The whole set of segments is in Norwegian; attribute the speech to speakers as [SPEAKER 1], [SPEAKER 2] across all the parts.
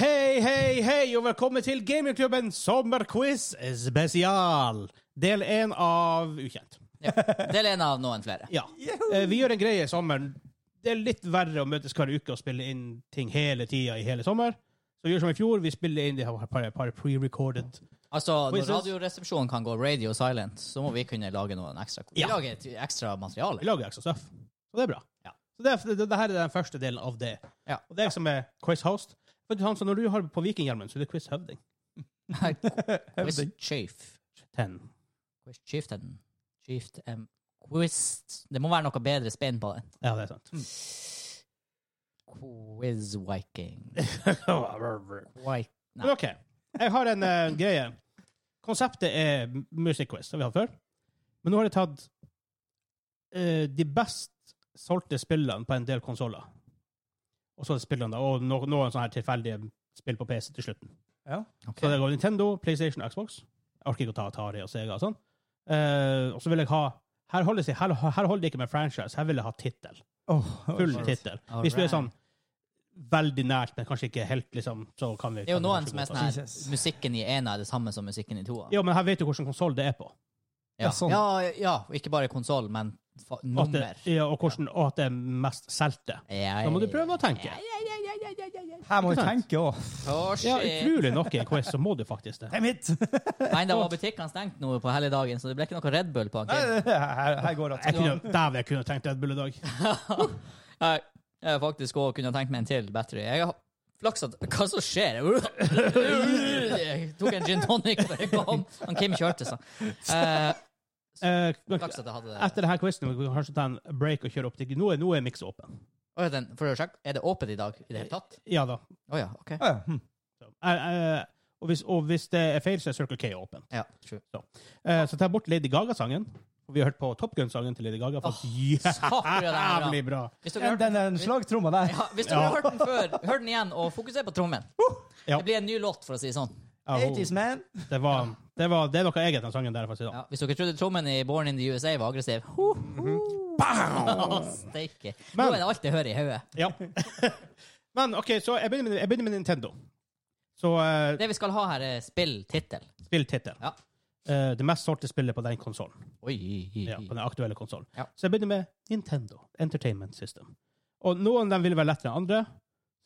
[SPEAKER 1] Hei, hei, hei, og velkommen til Gamingklubben sommerquiz spesial. Del én av Ukjent.
[SPEAKER 2] Del én av noen flere.
[SPEAKER 1] Ja. Eh, Vi gjør en greie i sommeren. Det er litt verre å møtes hver uke og spille inn ting hele tida i hele sommer. Så vi gjør som i fjor, vi spiller inn de her par, par pre-recorded.
[SPEAKER 2] Altså, Når
[SPEAKER 1] Quizzes.
[SPEAKER 2] Radioresepsjonen kan gå radio silent, så må vi kunne lage noen ekstra Vi
[SPEAKER 1] Ja.
[SPEAKER 2] lager et ekstra
[SPEAKER 1] Vi
[SPEAKER 2] materiale.
[SPEAKER 1] lager ekstra stuff. Så det er bra.
[SPEAKER 2] Ja.
[SPEAKER 1] Så det, er- det, det her er den første delen av det.
[SPEAKER 2] Ja.
[SPEAKER 1] Og det er jeg som er quiz host. Vet du, Hansa, når du har på vikinghjelmen, så er det quiz høvding.
[SPEAKER 2] Quiz chief.
[SPEAKER 1] Ten.
[SPEAKER 2] Quiz chieftain. Chieft em, Quiz Det må være noe bedre spenn på det.
[SPEAKER 1] Ja, det er sant.
[SPEAKER 2] Quiz viking. Mm. Wi- Nei.
[SPEAKER 1] Men OK. Jeg har en eh, greie. Konseptet er m- Music Quiz, det vi har før. Men nå har jeg tatt eh, de best solgte spillene på en del konsoller. Og så er det spillene, da, og no noen sånne her tilfeldige spill på PC til slutten. Så det
[SPEAKER 2] Ok.
[SPEAKER 1] går Nintendo, PlayStation, Xbox. Jeg orker ikke å ta Atari og Sega og sånn. Eh, og så vil jeg ha Her holder det, her, her holder det ikke med franchise, her vil jeg ha tittel. Full
[SPEAKER 2] Alright.
[SPEAKER 1] tittel. Hvis du er
[SPEAKER 2] Alright.
[SPEAKER 1] sånn veldig nært, men kanskje ikke helt, liksom, så kan vi
[SPEAKER 2] Det er jo
[SPEAKER 1] kan vi
[SPEAKER 2] noen
[SPEAKER 1] kanskje
[SPEAKER 2] som
[SPEAKER 1] gå
[SPEAKER 2] er
[SPEAKER 1] for
[SPEAKER 2] sånn her
[SPEAKER 3] Jesus.
[SPEAKER 2] Musikken i ena er det samme som musikken i toa.
[SPEAKER 1] Ja, men her vet du hvilken konsoll det er på.
[SPEAKER 2] Ja.
[SPEAKER 3] Ja, sånn.
[SPEAKER 2] ja, ja. og Ikke bare konsoll, men fa
[SPEAKER 1] At det,
[SPEAKER 2] nummer.
[SPEAKER 1] ja, og, hvordan, og at det er mest solgte. Da må du prøve å tenke.
[SPEAKER 3] Her må vi
[SPEAKER 1] Ikke sant?
[SPEAKER 3] tenke òg.
[SPEAKER 1] Ja, utrolig nok i en quiz, så må du faktisk det.
[SPEAKER 3] Damn it!
[SPEAKER 2] Nei, da var butikkene stengt nå på helligdagen, så det ble ikke noe Red Bull på Arcade.
[SPEAKER 3] her, her går
[SPEAKER 1] Jeg
[SPEAKER 3] det.
[SPEAKER 1] kunne, dæven, jeg kunne tenkt Red Bull i dag.
[SPEAKER 2] Nei, Jeg har faktisk òg kunne tenkt meg en til battery. Jeg har flaks at Hva som skjer? Jeg tok en gin tonic da jeg kom. Han Kim kjørte, så. Eh,
[SPEAKER 1] Eh, men
[SPEAKER 2] flaks at jeg hadde det.
[SPEAKER 1] etter denne quizen må vi kanskje ta en break og kjøre opp til Nå er, nå er mix åpen.
[SPEAKER 2] Oi, den, for å sjekke, er det åpent i dag i det hele tatt?
[SPEAKER 1] Ja da.
[SPEAKER 2] Å ja, OK.
[SPEAKER 3] Ja, ja. Hm.
[SPEAKER 1] Så, eh, eh, og, hvis, og hvis det er feil, så er Circle K åpen.
[SPEAKER 2] Ja, true.
[SPEAKER 1] Eh, så ta bort Lady Gaga-sangen. Og vi har hørt på Top Gun-sangen til Lady Gaga. Faktisk
[SPEAKER 2] Satan, det er bra.
[SPEAKER 1] jævlig bra!
[SPEAKER 2] Hvis dere
[SPEAKER 3] Den,
[SPEAKER 2] har hørt,
[SPEAKER 3] den, den slagtromma der.
[SPEAKER 2] ja, hvis dere har hørt den før, hør den igjen, og fokuser på trommen.
[SPEAKER 1] Ja.
[SPEAKER 2] Det blir en ny låt, for å si det sånn.
[SPEAKER 1] Ja, hun-
[SPEAKER 3] 80s, man.
[SPEAKER 1] det, var, det, var, det er noe eget, den sangen der. for å si det sånn.
[SPEAKER 2] Ja, hvis dere trodde trommen i Born in the USA var aggressiv ho, ho. Steike. Nå
[SPEAKER 1] Mhm. Men-
[SPEAKER 2] er det alt jeg hører i hodet.
[SPEAKER 1] Ja. Men OK, så jeg begynner med, jeg begynner med Nintendo. Så eh,
[SPEAKER 2] Det vi skal ha her, er spilltittel.
[SPEAKER 1] spilltittel.
[SPEAKER 2] Ja.
[SPEAKER 1] Eh, det mest solgte spillet på den konsollen.
[SPEAKER 2] Oi.
[SPEAKER 1] Ja, på den aktuelle konsollen.
[SPEAKER 2] Ja.
[SPEAKER 1] Så jeg begynner med Nintendo Entertainment System. Og noen av dem vil være lettere enn andre,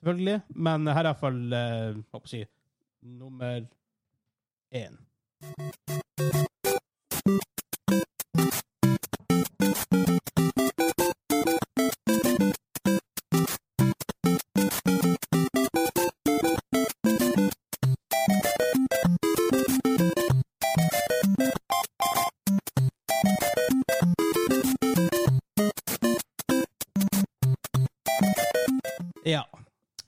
[SPEAKER 1] selvfølgelig, men her er iallfall uh, Hva skal jeg si nummer én. Ja.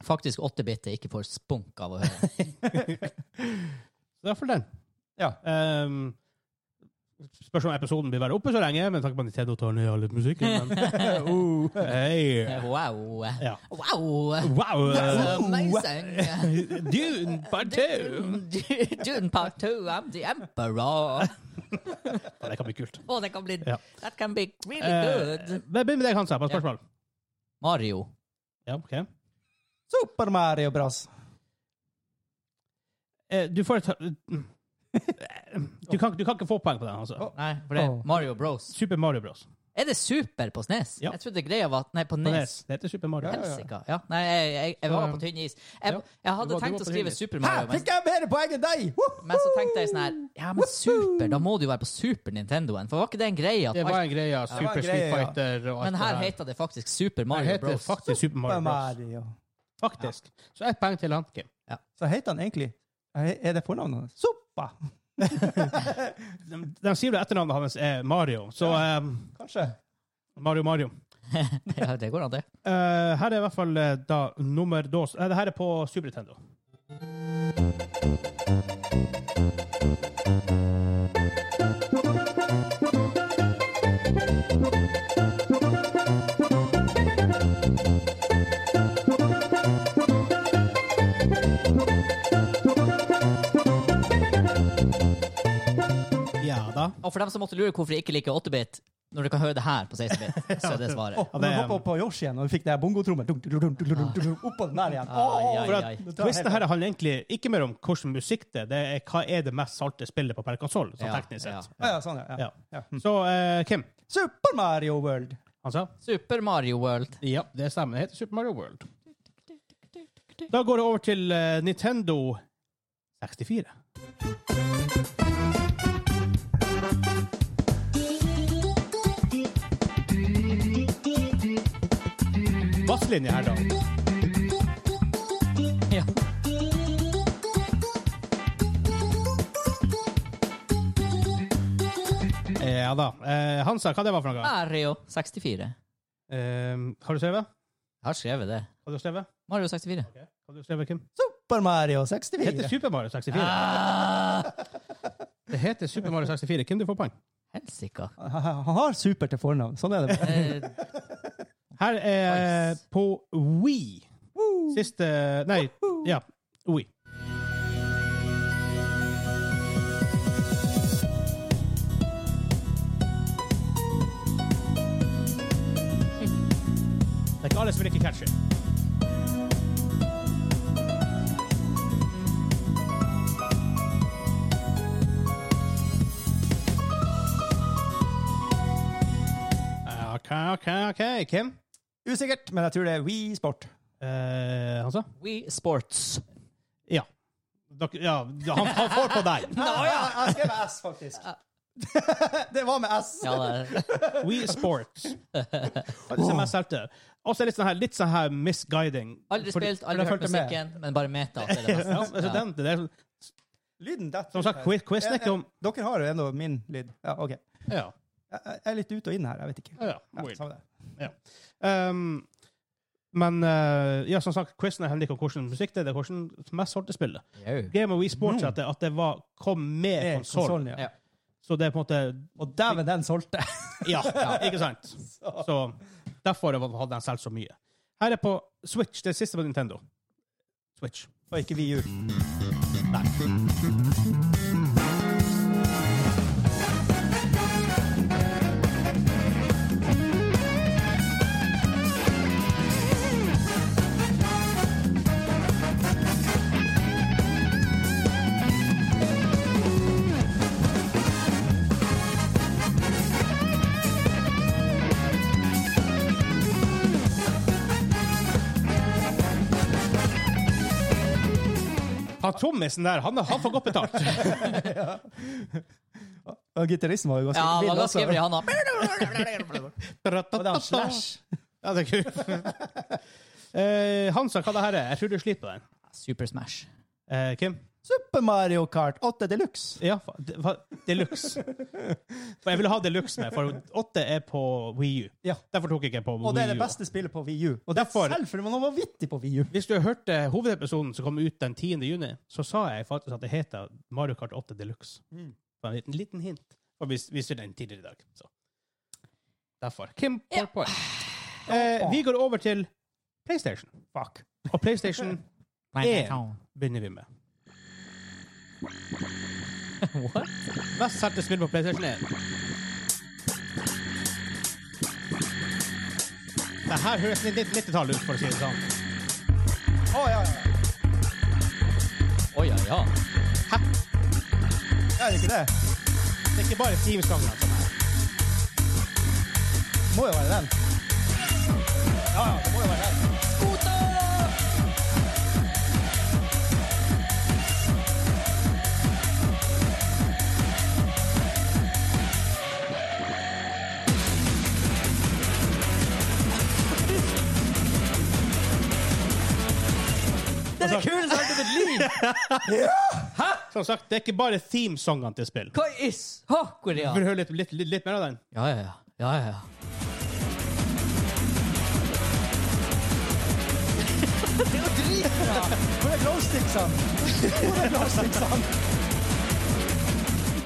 [SPEAKER 2] Faktisk 8-bit jeg ikke får spunk av å høre.
[SPEAKER 1] Så det er iallfall den.
[SPEAKER 3] Ja.
[SPEAKER 1] Ehm, spørs om episoden blir være oppe så lenge, men takk på at Nintendo tar ned all musikken. Men,
[SPEAKER 3] Oh.
[SPEAKER 1] Hei.
[SPEAKER 2] Wow.
[SPEAKER 1] Ja.
[SPEAKER 2] Wow.
[SPEAKER 1] Wow! eh,
[SPEAKER 2] Amazing.
[SPEAKER 1] Dune part two!
[SPEAKER 2] Dune part two, I'm the emperor.
[SPEAKER 1] Ja, det kan bli kult.
[SPEAKER 2] Å, det kan bli
[SPEAKER 1] Ja.
[SPEAKER 2] That can be really
[SPEAKER 1] Eh,
[SPEAKER 2] good.
[SPEAKER 1] men Begynn med deg, Hansa, på et
[SPEAKER 2] Ja.
[SPEAKER 1] spørsmål.
[SPEAKER 2] Mario.
[SPEAKER 1] Ja, ok.
[SPEAKER 3] Super Mario Bros.
[SPEAKER 1] Eh, du får et du kan, du kan ikke få poeng på den, altså.
[SPEAKER 2] Nei, for det er
[SPEAKER 3] Åh.
[SPEAKER 2] Mario Bros.
[SPEAKER 1] Super Mario Bros.
[SPEAKER 2] Er det Super på Snes?
[SPEAKER 1] Ja.
[SPEAKER 2] Jeg trodde greia var at Nei, på
[SPEAKER 1] E Det
[SPEAKER 2] Nes.
[SPEAKER 1] heter Super Mario.
[SPEAKER 3] Ja, ja.
[SPEAKER 2] Helsika. Ja. Nei, jeg, jeg, jeg var på tynn is.
[SPEAKER 1] Ja.
[SPEAKER 2] Jeg, jeg
[SPEAKER 1] Du
[SPEAKER 2] hadde
[SPEAKER 1] var- du
[SPEAKER 2] tenkt
[SPEAKER 1] var
[SPEAKER 2] å
[SPEAKER 1] på tynn
[SPEAKER 2] skrive
[SPEAKER 1] is.
[SPEAKER 2] Super
[SPEAKER 3] Her
[SPEAKER 2] Mario, men,
[SPEAKER 3] fikk jeg mer poeng enn deg! Woo!
[SPEAKER 2] men så tenkte jeg sånn her Ja, men Super, da må det jo være på Super Nintendoen, for var ikke det en greie? At
[SPEAKER 1] Det var en greie. ja.
[SPEAKER 3] var
[SPEAKER 1] Super
[SPEAKER 3] en
[SPEAKER 1] Street
[SPEAKER 3] greie, ja.
[SPEAKER 1] Fighter og alt
[SPEAKER 2] men
[SPEAKER 1] det
[SPEAKER 2] her
[SPEAKER 1] her.
[SPEAKER 2] heter det faktisk Super
[SPEAKER 1] Her
[SPEAKER 2] Mario
[SPEAKER 1] heter det
[SPEAKER 2] Bros.
[SPEAKER 1] faktisk Super Mario
[SPEAKER 3] Super
[SPEAKER 1] Bros.
[SPEAKER 3] Mario.
[SPEAKER 1] Faktisk. Så ett poeng til han. Kim.
[SPEAKER 3] Så heter han egentlig Er det fornavnet hans? Super!
[SPEAKER 1] De, de sier jo etternavnet hans er Mario, så eh,
[SPEAKER 3] Kanskje.
[SPEAKER 1] Mario Mario.
[SPEAKER 2] ja, det går an, det.
[SPEAKER 1] Eh, her er i hvert fall eh, da nummer dos. Eh, det her er på Super Nintendo. Ja da.
[SPEAKER 2] Og for dem som måtte lure hvorfor jeg ikke liker 8-bit, Når du kan høre det her på 16 bit, så er det svaret.
[SPEAKER 3] Å, når du hoppa opp på Yoshi igjen, og du fikk det her bongotrommel dunk, dunk, dunk, dunk, dunk, dunk, dunk, Oppå den der igjen.
[SPEAKER 2] Ai,
[SPEAKER 3] Å,
[SPEAKER 2] ai,
[SPEAKER 1] For at
[SPEAKER 2] ai.
[SPEAKER 1] Quizen her handler egentlig ikke mer om hvordan musikk det er, det er hva er det mest salte spillet på per konsoll, sånn
[SPEAKER 2] Ja,
[SPEAKER 1] teknisk sett.
[SPEAKER 3] Ja, ja, sånn, ja. ja. ja. hm.
[SPEAKER 1] Så eh, Kim,
[SPEAKER 3] Super Mario World.
[SPEAKER 1] han sa?
[SPEAKER 2] Super Mario World.
[SPEAKER 1] Ja, det stemmer. Det heter Super Mario World. Da går det over til eh, Nintendo 64. Basslinje her, da.
[SPEAKER 2] Ja.
[SPEAKER 1] Eh, Ja da. Eh, Hansa, hva det var for noe?
[SPEAKER 2] Mario 64.
[SPEAKER 1] Eh, har du skrevet?
[SPEAKER 2] Jeg har skrevet det.
[SPEAKER 1] Har du skrevet?
[SPEAKER 2] Mario 64.
[SPEAKER 1] Ok. Har du skrevet, Kim?
[SPEAKER 3] Super Mario
[SPEAKER 1] Det heter
[SPEAKER 3] 64.
[SPEAKER 1] Super Mario 64.
[SPEAKER 2] Ah,
[SPEAKER 1] Det heter Super Mario 64. Hvem du får poeng?
[SPEAKER 2] Helsika.
[SPEAKER 3] Han har super til fornavn. Sånn er det. bare.
[SPEAKER 2] Eh,
[SPEAKER 1] Her er
[SPEAKER 2] Nice.
[SPEAKER 1] på We.
[SPEAKER 3] Woo!
[SPEAKER 1] Siste Nei, ja. We. Det er ikke alle som vil ikke catche. OK, OK, OK. Kim?
[SPEAKER 3] Usikkert, men jeg tror det er Wii Sport.
[SPEAKER 1] Eh, han sa?
[SPEAKER 2] We Sports.
[SPEAKER 1] Ja. Dere, ja han, han får på deg.
[SPEAKER 3] Ah, Jeg skrev S, faktisk. det var med S.
[SPEAKER 2] Ja, det er
[SPEAKER 1] We Sports. Det som jeg solgte. Og så er det litt sånn her, litt sånn her misguiding.
[SPEAKER 2] aldri
[SPEAKER 1] Fordi-
[SPEAKER 2] spilt,
[SPEAKER 1] fordi
[SPEAKER 2] aldri
[SPEAKER 1] jeg
[SPEAKER 2] hørt
[SPEAKER 1] følte med.
[SPEAKER 2] musikken, men bare meta. at Det er det
[SPEAKER 1] Ja,
[SPEAKER 2] beste.
[SPEAKER 1] altså
[SPEAKER 2] Ja.
[SPEAKER 1] den, det der,
[SPEAKER 3] Lyden detter
[SPEAKER 1] som
[SPEAKER 3] ut
[SPEAKER 1] sagt,
[SPEAKER 3] her.
[SPEAKER 1] quiz, quiz
[SPEAKER 3] Jeg-
[SPEAKER 1] ikke om
[SPEAKER 3] jeg- Dere har jo ennå min lyd. Ja, OK.
[SPEAKER 1] Ja.
[SPEAKER 3] Jeg, jeg er litt ute og inn her, jeg vet ikke.
[SPEAKER 1] ja,
[SPEAKER 3] Ja,
[SPEAKER 1] weird.
[SPEAKER 3] samme det.
[SPEAKER 1] Um, men eh, ja, som sagt, quizen handler ikke om hvordan musikk det er, det er hvordan mest solgte spill det er.
[SPEAKER 2] Jau.
[SPEAKER 1] Game of Wii Sports at det, at det var, kom Mm. med
[SPEAKER 3] Med
[SPEAKER 1] konsoll.
[SPEAKER 3] konsollen, ja.
[SPEAKER 2] Ja.
[SPEAKER 1] Så det er på en måte
[SPEAKER 3] Og dæven, den solgte!
[SPEAKER 1] Ja, ikke sant? Så derfor hadde den solgt så mye. Her er på Switch, det siste på Nintendo. Switch.
[SPEAKER 3] Og ikke Wii U.
[SPEAKER 1] Han Trommisen der, han, han får godt betalt.
[SPEAKER 3] Og gitaristen var jo ganske
[SPEAKER 2] Ja,
[SPEAKER 3] vill
[SPEAKER 2] hva da
[SPEAKER 3] også.
[SPEAKER 2] skriver de han da?
[SPEAKER 3] Og det er han Slash.
[SPEAKER 1] Ja, det er kult. Eh, Hansa, hva det her er? Jeg tror du sliter på den.
[SPEAKER 2] Super Smash.
[SPEAKER 1] Eh, Kim?
[SPEAKER 3] Super Mario Kart 8 Deluxe.
[SPEAKER 1] Ja, fa- de- fa- deluxe. For jeg ville ha deluxe med, for åtte er på Wii U.
[SPEAKER 3] Ja.
[SPEAKER 1] Derfor tok jeg ikke på Wii U.
[SPEAKER 3] Og det er det beste spillet på Wii U. Og
[SPEAKER 1] Derfor-
[SPEAKER 3] Selv for man var vittig på Wii U.
[SPEAKER 1] Hvis du har hørt eh, hovedepisoden som kom ut den 10. juni, så sa jeg faktisk at det heter Mario Kart 8 Deluxe.
[SPEAKER 3] Mm.
[SPEAKER 1] Det var en liten, liten hint. Og vi viser den tidligere i dag. Så. Derfor. Kim får
[SPEAKER 2] Ja.
[SPEAKER 1] poeng. Eh, vi går over til PlayStation.
[SPEAKER 3] Fuck.
[SPEAKER 1] Og PlayStation En. begynner vi med.
[SPEAKER 2] What?
[SPEAKER 1] Mest solgte spill på PlayStation 1. Det her høres 90-tallet ut, for å si det sånn.
[SPEAKER 3] Å, ja, ja.
[SPEAKER 2] Å ja, ja.
[SPEAKER 3] Er det ikke det?
[SPEAKER 1] Det er ikke bare Teams-sangene som er
[SPEAKER 3] Må jo være den. Ja, ja, det må jo være den. Det er det kuleste jeg har hørt i mitt liv!
[SPEAKER 1] Som sagt, det er ikke bare themesangene til spill.
[SPEAKER 2] Hva is Hakoria?
[SPEAKER 1] Vil du høre litt, litt, litt, litt mer av den?
[SPEAKER 2] Ja, ja, ja. ja, ja, ja.
[SPEAKER 3] Det er jo dritbra! Hvor er glowsticksene? Hvor er glowsticksene?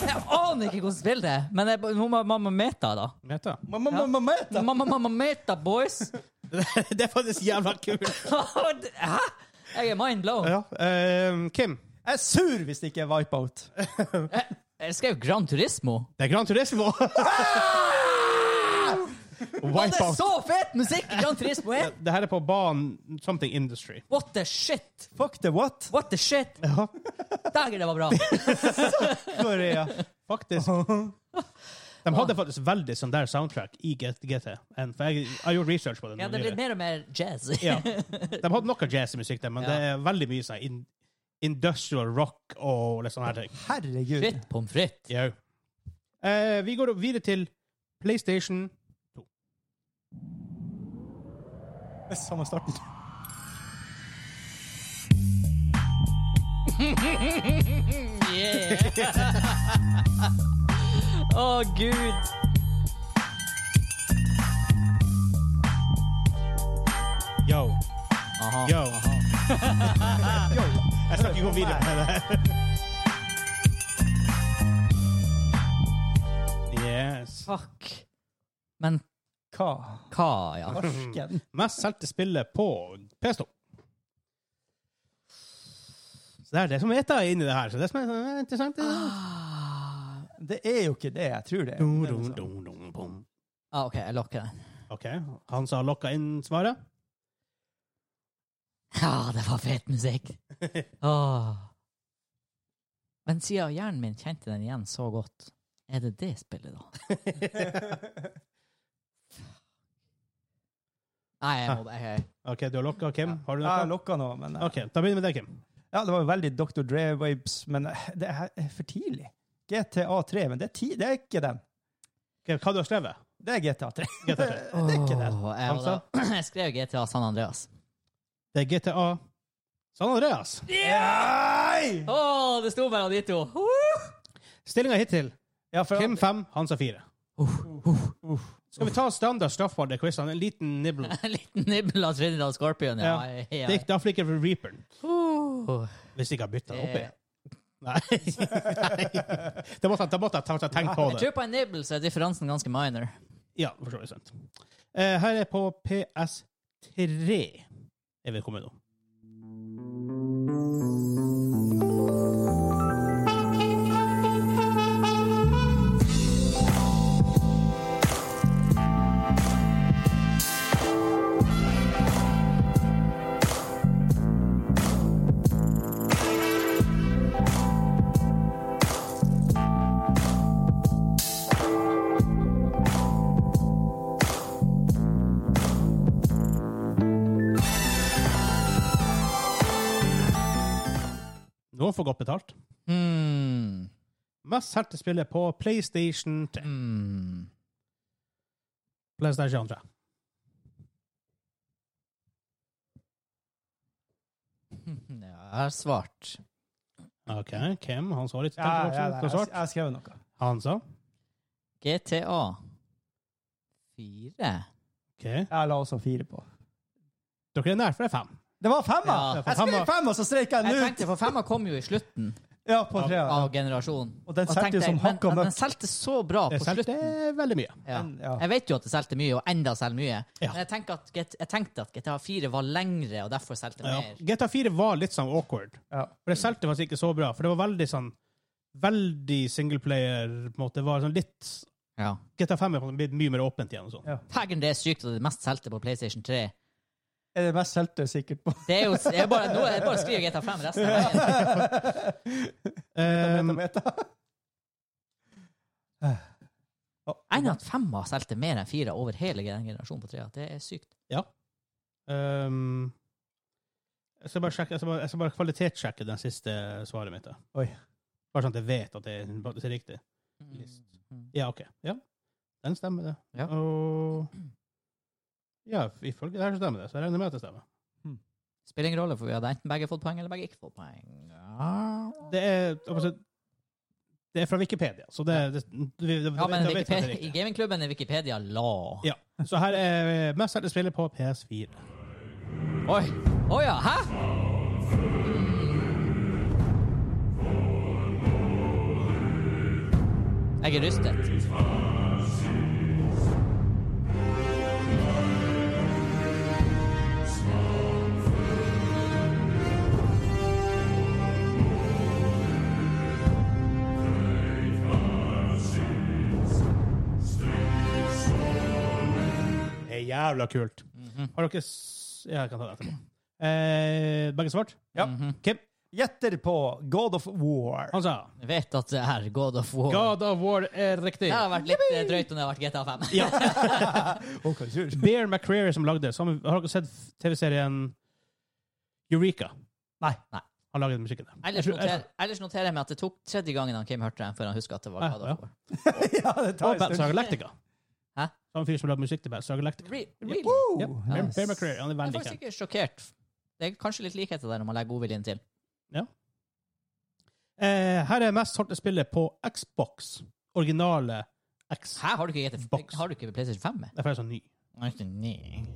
[SPEAKER 2] Jeg aner ikke hvordan spill det er, men jeg, nå må mamma meta, da.
[SPEAKER 1] Vet du?
[SPEAKER 3] Mamma, mamma, mamma.
[SPEAKER 2] Mamma, mamma meta, boys!
[SPEAKER 1] det er faktisk jævla kult.
[SPEAKER 2] Hæ? Jeg er mind blown.
[SPEAKER 1] Ja, ehm, Kim,
[SPEAKER 3] Jeg er sur hvis det ikke er Wipeout.
[SPEAKER 2] Jeg, jeg skrev Gran Turismo.
[SPEAKER 1] det er Gran Turismo.
[SPEAKER 2] Og det er
[SPEAKER 1] Wipeout.
[SPEAKER 2] så fet musikk i Gran Turismo 1!
[SPEAKER 1] Det her er på banen Something Industry.
[SPEAKER 2] What the shit?
[SPEAKER 3] Fuck the what?
[SPEAKER 2] What the shit?
[SPEAKER 1] Ja.
[SPEAKER 2] Dæger, det var bra.
[SPEAKER 1] Korea. Faktisk. De hadde faktisk veldig sånn der soundtrack i GT. GT. En- For jeg jeg gjorde research på det.
[SPEAKER 2] Ja,
[SPEAKER 1] nå
[SPEAKER 2] det er
[SPEAKER 1] nylig.
[SPEAKER 2] blitt mer og mer jazz.
[SPEAKER 1] Ja. De hadde noe jazzmusikk der, men
[SPEAKER 2] Ja.
[SPEAKER 1] det er veldig mye sånn in industrial rock og litt sånne her ting.
[SPEAKER 3] Herregud.
[SPEAKER 2] Fritt pommes frites.
[SPEAKER 1] Jau. Eh, vi går videre til PlayStation
[SPEAKER 3] Det er Samme starten.
[SPEAKER 2] Yeah. Å, gud.
[SPEAKER 1] Yo.
[SPEAKER 2] Aha.
[SPEAKER 1] Yo. Jeg skal ikke gå videre med det. Yes.
[SPEAKER 2] Fuck. Men
[SPEAKER 3] Hva?
[SPEAKER 2] hva, ja?
[SPEAKER 3] Arsken.
[SPEAKER 1] Mest solgte spillet på PS2. Så det er det som meta er inni det her, så det som er sånn, eh, interessant. det er sånn.
[SPEAKER 2] Ah.
[SPEAKER 3] Det er jo ikke det jeg tror det er.
[SPEAKER 1] Dum, dum, dum, dum, bom.
[SPEAKER 2] Ah, OK, jeg lokker den.
[SPEAKER 1] OK. Han som har lokka inn svaret?
[SPEAKER 2] Ja, det var fet musikk. Åh. Men siden hjernen min kjente den igjen så godt, er det det spillet, da? Nei, jeg må jeg,
[SPEAKER 1] OK, du har lokka, Kim. Har du
[SPEAKER 3] Jeg har
[SPEAKER 1] noe?
[SPEAKER 3] lokka nå, men
[SPEAKER 1] OK, da begynner vi med deg, Kim.
[SPEAKER 3] Ja, det var jo veldig Dr. Dre-vibes, men det er for tidlig. GTA 3, men det er, ti, det er ikke den.
[SPEAKER 1] Ok, hva du har skrevet?
[SPEAKER 3] Det er GTA 3.
[SPEAKER 1] GTA
[SPEAKER 3] Det,
[SPEAKER 1] 3.
[SPEAKER 3] det er ikke den.
[SPEAKER 2] Åh, jeg,
[SPEAKER 1] Hamza?
[SPEAKER 2] var da- jeg skrev GTA San Andreas.
[SPEAKER 1] Det er GTA San Andreas.
[SPEAKER 3] Nei!
[SPEAKER 2] Å, det sto mellom de to!
[SPEAKER 1] Stillinga hittil
[SPEAKER 3] Ja, for
[SPEAKER 1] Kim fem, Hansa fire.
[SPEAKER 3] Uff.
[SPEAKER 1] Skal vi ta standard straffbare quiz? En liten nibble.
[SPEAKER 2] En liten nibbel av Trinidad Scorpion. Ja.
[SPEAKER 1] Ja.
[SPEAKER 2] jeg-
[SPEAKER 1] Det gikk da flikker for Reaperen.
[SPEAKER 2] Uh.
[SPEAKER 1] Hvis de ikke har bytta det opp
[SPEAKER 2] Eh.
[SPEAKER 1] igjen. Nei. Nei. Det måtte, det måtte jeg ta- ta- tenke på
[SPEAKER 2] Jeg
[SPEAKER 1] det.
[SPEAKER 2] tror på en nibbel så er differansen ganske minor.
[SPEAKER 1] Ja, for så vidt sant. Eh, Her er på PS3 er vi kommet nå. Noen får godt betalt.
[SPEAKER 2] Hmm.
[SPEAKER 1] Mest solgte spillet på PlayStation 3.
[SPEAKER 2] Hmm.
[SPEAKER 1] PlayStation 3.
[SPEAKER 2] Ja, jeg har svart.
[SPEAKER 1] OK, hvem? Han sa litt
[SPEAKER 3] Ja, ja,
[SPEAKER 1] tankevoksent.
[SPEAKER 3] ja,
[SPEAKER 1] Hva
[SPEAKER 3] jeg,
[SPEAKER 1] svart?
[SPEAKER 3] jeg skrev noe.
[SPEAKER 1] Han sa.
[SPEAKER 2] GTA 4.
[SPEAKER 1] OK.
[SPEAKER 3] Jeg la også fire på.
[SPEAKER 1] Dere er nær, for det er fem.
[SPEAKER 3] Det var femma!
[SPEAKER 2] Ja.
[SPEAKER 3] Jeg skrev femma, så streika
[SPEAKER 2] Jeg
[SPEAKER 3] jeg den ut!
[SPEAKER 2] tenkte, for femma kom jo i slutten
[SPEAKER 3] Ja, på trea.
[SPEAKER 2] av generasjonen.
[SPEAKER 3] Og den
[SPEAKER 2] Da
[SPEAKER 3] solgte jo
[SPEAKER 2] tenkte
[SPEAKER 3] som
[SPEAKER 2] jeg, men-
[SPEAKER 3] hakk og
[SPEAKER 2] men Den
[SPEAKER 3] møkk.
[SPEAKER 2] solgte så bra på
[SPEAKER 1] Det solgte
[SPEAKER 2] slutten.
[SPEAKER 1] veldig mye.
[SPEAKER 2] Ja.
[SPEAKER 3] Men, ja.
[SPEAKER 2] Jeg vet jo at det solgte mye, og enda selger mye.
[SPEAKER 1] Ja.
[SPEAKER 2] Men jeg, tenker at, Get- jeg tenkte at GTA 4 var lengre, og derfor solgte
[SPEAKER 1] Ja.
[SPEAKER 2] mer.
[SPEAKER 1] GTA 4 var litt sånn awkward.
[SPEAKER 3] Ja.
[SPEAKER 1] For det solgte faktisk ikke så bra. For det var veldig sånn Veldig singleplayer, på en måte. Det var sånn litt
[SPEAKER 2] Ja.
[SPEAKER 1] GTA 5 er på en måte blitt mye mer åpent igjen og sånn.
[SPEAKER 3] Ja.
[SPEAKER 2] Fagen, det er sykt, og det mest solgte på PlayStation 3.
[SPEAKER 3] Er det mest solgte sikkert på
[SPEAKER 2] Det er jo, jeg bare, nå er det bare å skrive GTA 5 resten av veien.
[SPEAKER 1] Eh,
[SPEAKER 3] Meta?
[SPEAKER 2] Enn at femma solgte mer enn fire over hele den generasjonen på trea. Det er sykt.
[SPEAKER 1] ehm, jeg skal bare sjekke, jeg skal bare, jeg skal bare kvalitetssjekke den siste svaret mitt. da.
[SPEAKER 3] Oi.
[SPEAKER 1] Bare sånn at jeg vet at det, at det er riktig. List. Ja, OK. Ja, den stemmer, det.
[SPEAKER 2] Mm. Ja.
[SPEAKER 1] Og Ja, ifølge det her så stemmer det. Så jeg regner med at det stemmer.
[SPEAKER 2] Spiller ingen rolle, for vi hadde enten begge fått poeng eller begge ikke fått poeng.
[SPEAKER 1] Det er, altså, det er fra Wikipedia, så det, det, det, det,
[SPEAKER 2] Ja, men
[SPEAKER 1] da vet vi at det er
[SPEAKER 2] Wikipedia,
[SPEAKER 1] riktig.
[SPEAKER 2] i gamingklubben er Wikipedia la.
[SPEAKER 1] Ja. Så her er eh, mest solgte spillet på PS4.
[SPEAKER 2] Oi! Å ja, hæ? Mm. Jeg er rystet.
[SPEAKER 1] jævla kult.
[SPEAKER 2] Mhm.
[SPEAKER 1] Har dere s- Ja, jeg kan ta det etterpå. Eh, begge svart?
[SPEAKER 3] Ja.
[SPEAKER 2] Mhm.
[SPEAKER 1] Kim?
[SPEAKER 3] Gjetter på God of War.
[SPEAKER 1] Han sa
[SPEAKER 2] Jeg vet at det er God of War.
[SPEAKER 1] God of War er riktig.
[SPEAKER 2] Det hadde vært litt eh, drøyt om det hadde vært GTA 5.
[SPEAKER 1] Ja.
[SPEAKER 3] Å, hva sur.
[SPEAKER 1] Bear McCreary som lagde sammen, Har dere sett TV-serien Eureka?
[SPEAKER 3] Nei.
[SPEAKER 2] Nei.
[SPEAKER 1] Han lagde musikken der.
[SPEAKER 2] Ellers noterer, ellers noterer jeg meg at det tok tredje gangen han Kim hørte det, før han huska at det var
[SPEAKER 1] Ja,
[SPEAKER 2] God
[SPEAKER 1] ja.
[SPEAKER 2] of War.
[SPEAKER 3] ja, det
[SPEAKER 1] Og
[SPEAKER 3] tar en
[SPEAKER 1] Battlestar
[SPEAKER 3] stund.
[SPEAKER 1] Galactica.
[SPEAKER 2] Hæ?
[SPEAKER 1] Samme fyr som lagde musikk til Battlestar Galactica.
[SPEAKER 2] Re really?
[SPEAKER 3] Woo!
[SPEAKER 1] Ja. Bear,
[SPEAKER 2] Nice.
[SPEAKER 1] Bear McCreary, han er
[SPEAKER 2] Jeg er
[SPEAKER 1] veldig kjent.
[SPEAKER 2] faktisk ikke sjokkert. Det er kanskje litt likheter der når man legger godviljen til.
[SPEAKER 1] Eh, her er mest solgte spillet på Xbox. Originale X.
[SPEAKER 2] Hæ, har du ikke gjettet
[SPEAKER 1] Box.
[SPEAKER 2] Har du ikke PlayStation 5 med?
[SPEAKER 1] Derfor er jeg så ny.
[SPEAKER 2] Nei, ikke nei.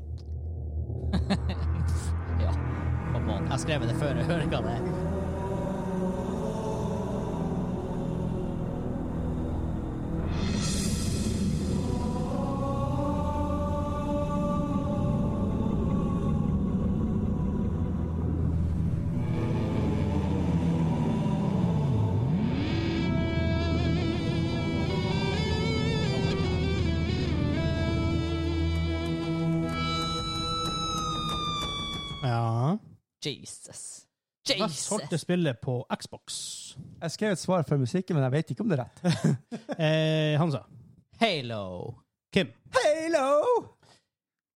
[SPEAKER 2] ja, come on. Jeg har skrevet det før, jeg hører ikke hva det er.
[SPEAKER 1] Ja.
[SPEAKER 2] Jesus.
[SPEAKER 1] Mest solgte
[SPEAKER 2] Jesus!
[SPEAKER 1] spillet på Xbox.
[SPEAKER 3] Jeg skrev et svar for musikken, men jeg vet ikke om det er rett.
[SPEAKER 1] Eh, Hansa.
[SPEAKER 2] Halo.
[SPEAKER 1] Kim.
[SPEAKER 3] Halo!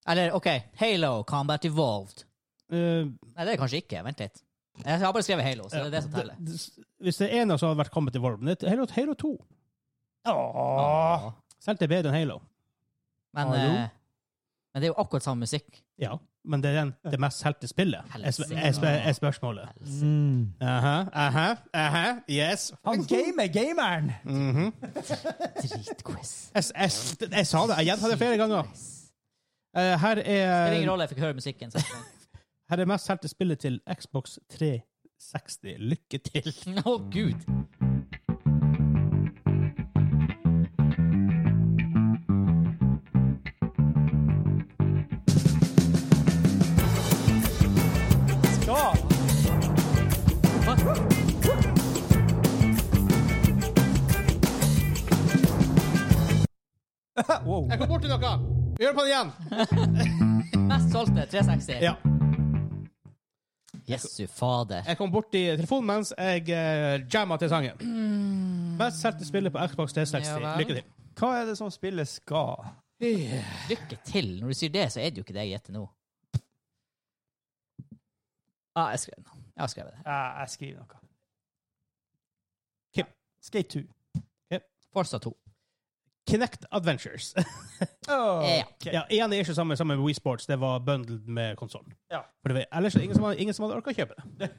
[SPEAKER 2] Eller, OK, Halo Combat Evolved.
[SPEAKER 1] Eh,
[SPEAKER 2] Nei, det er det kanskje ikke. Vent litt. Jeg har bare skrevet Halo, så det er det som
[SPEAKER 1] ja,
[SPEAKER 2] teller.
[SPEAKER 1] d- d- Hvis det er noe som hadde vært kommet i Volv, men det er Halo, Halo 2.
[SPEAKER 3] Åh.
[SPEAKER 2] Åh.
[SPEAKER 1] Selv til bedre enn Halo.
[SPEAKER 2] Men,
[SPEAKER 3] Hallo?
[SPEAKER 2] eh, men det er jo akkurat samme musikk.
[SPEAKER 1] Ja, men det er den, det mest solgte spillet, er, sp- er, sp- er spørsmålet.
[SPEAKER 3] Mm.
[SPEAKER 1] Aha, aha, aha, yes.
[SPEAKER 3] Han gamer gameren!
[SPEAKER 1] Mhm.
[SPEAKER 2] Dritquiz.
[SPEAKER 1] jeg, jeg, jeg sa det, jeg gjentar det flere ganger. Eh, her
[SPEAKER 2] Det er ingen
[SPEAKER 1] er,
[SPEAKER 2] rolle, jeg fikk høre musikken. Så.
[SPEAKER 1] her er mest solgte spillet til Xbox 360. Lykke til.
[SPEAKER 2] Å, gud.
[SPEAKER 3] Ja. Wow.
[SPEAKER 1] Jeg kom borti noe! Vi gjør det på det igjen!
[SPEAKER 2] Mest solgte 360.
[SPEAKER 1] Ja.
[SPEAKER 2] Jesu fader.
[SPEAKER 1] Jeg kom borti telefonen mens jeg uh, jamma til sangen. Mest solgte spillet på Xbox 360.
[SPEAKER 2] Ja vel.
[SPEAKER 1] Lykke til.
[SPEAKER 3] Hva er det som spillet skal?
[SPEAKER 2] Lykke til. Når du sier det, så er det jo ikke det jeg gjetter nå. Ja, ah, jeg skrev det. Jeg har skrevet det.
[SPEAKER 3] Eh, jeg skriver noe.
[SPEAKER 1] Kim.
[SPEAKER 3] Skate 2.
[SPEAKER 2] Forsa 2.
[SPEAKER 1] Kinect Adventures.
[SPEAKER 2] Ja.
[SPEAKER 1] Ja, igjen det er ikke samme sammen med Wii Sports. Det var bundled med konsollen.
[SPEAKER 3] Ja.
[SPEAKER 1] For det var- Ellers er det ingen som hadde, ingen som hadde orka å kjøpe det.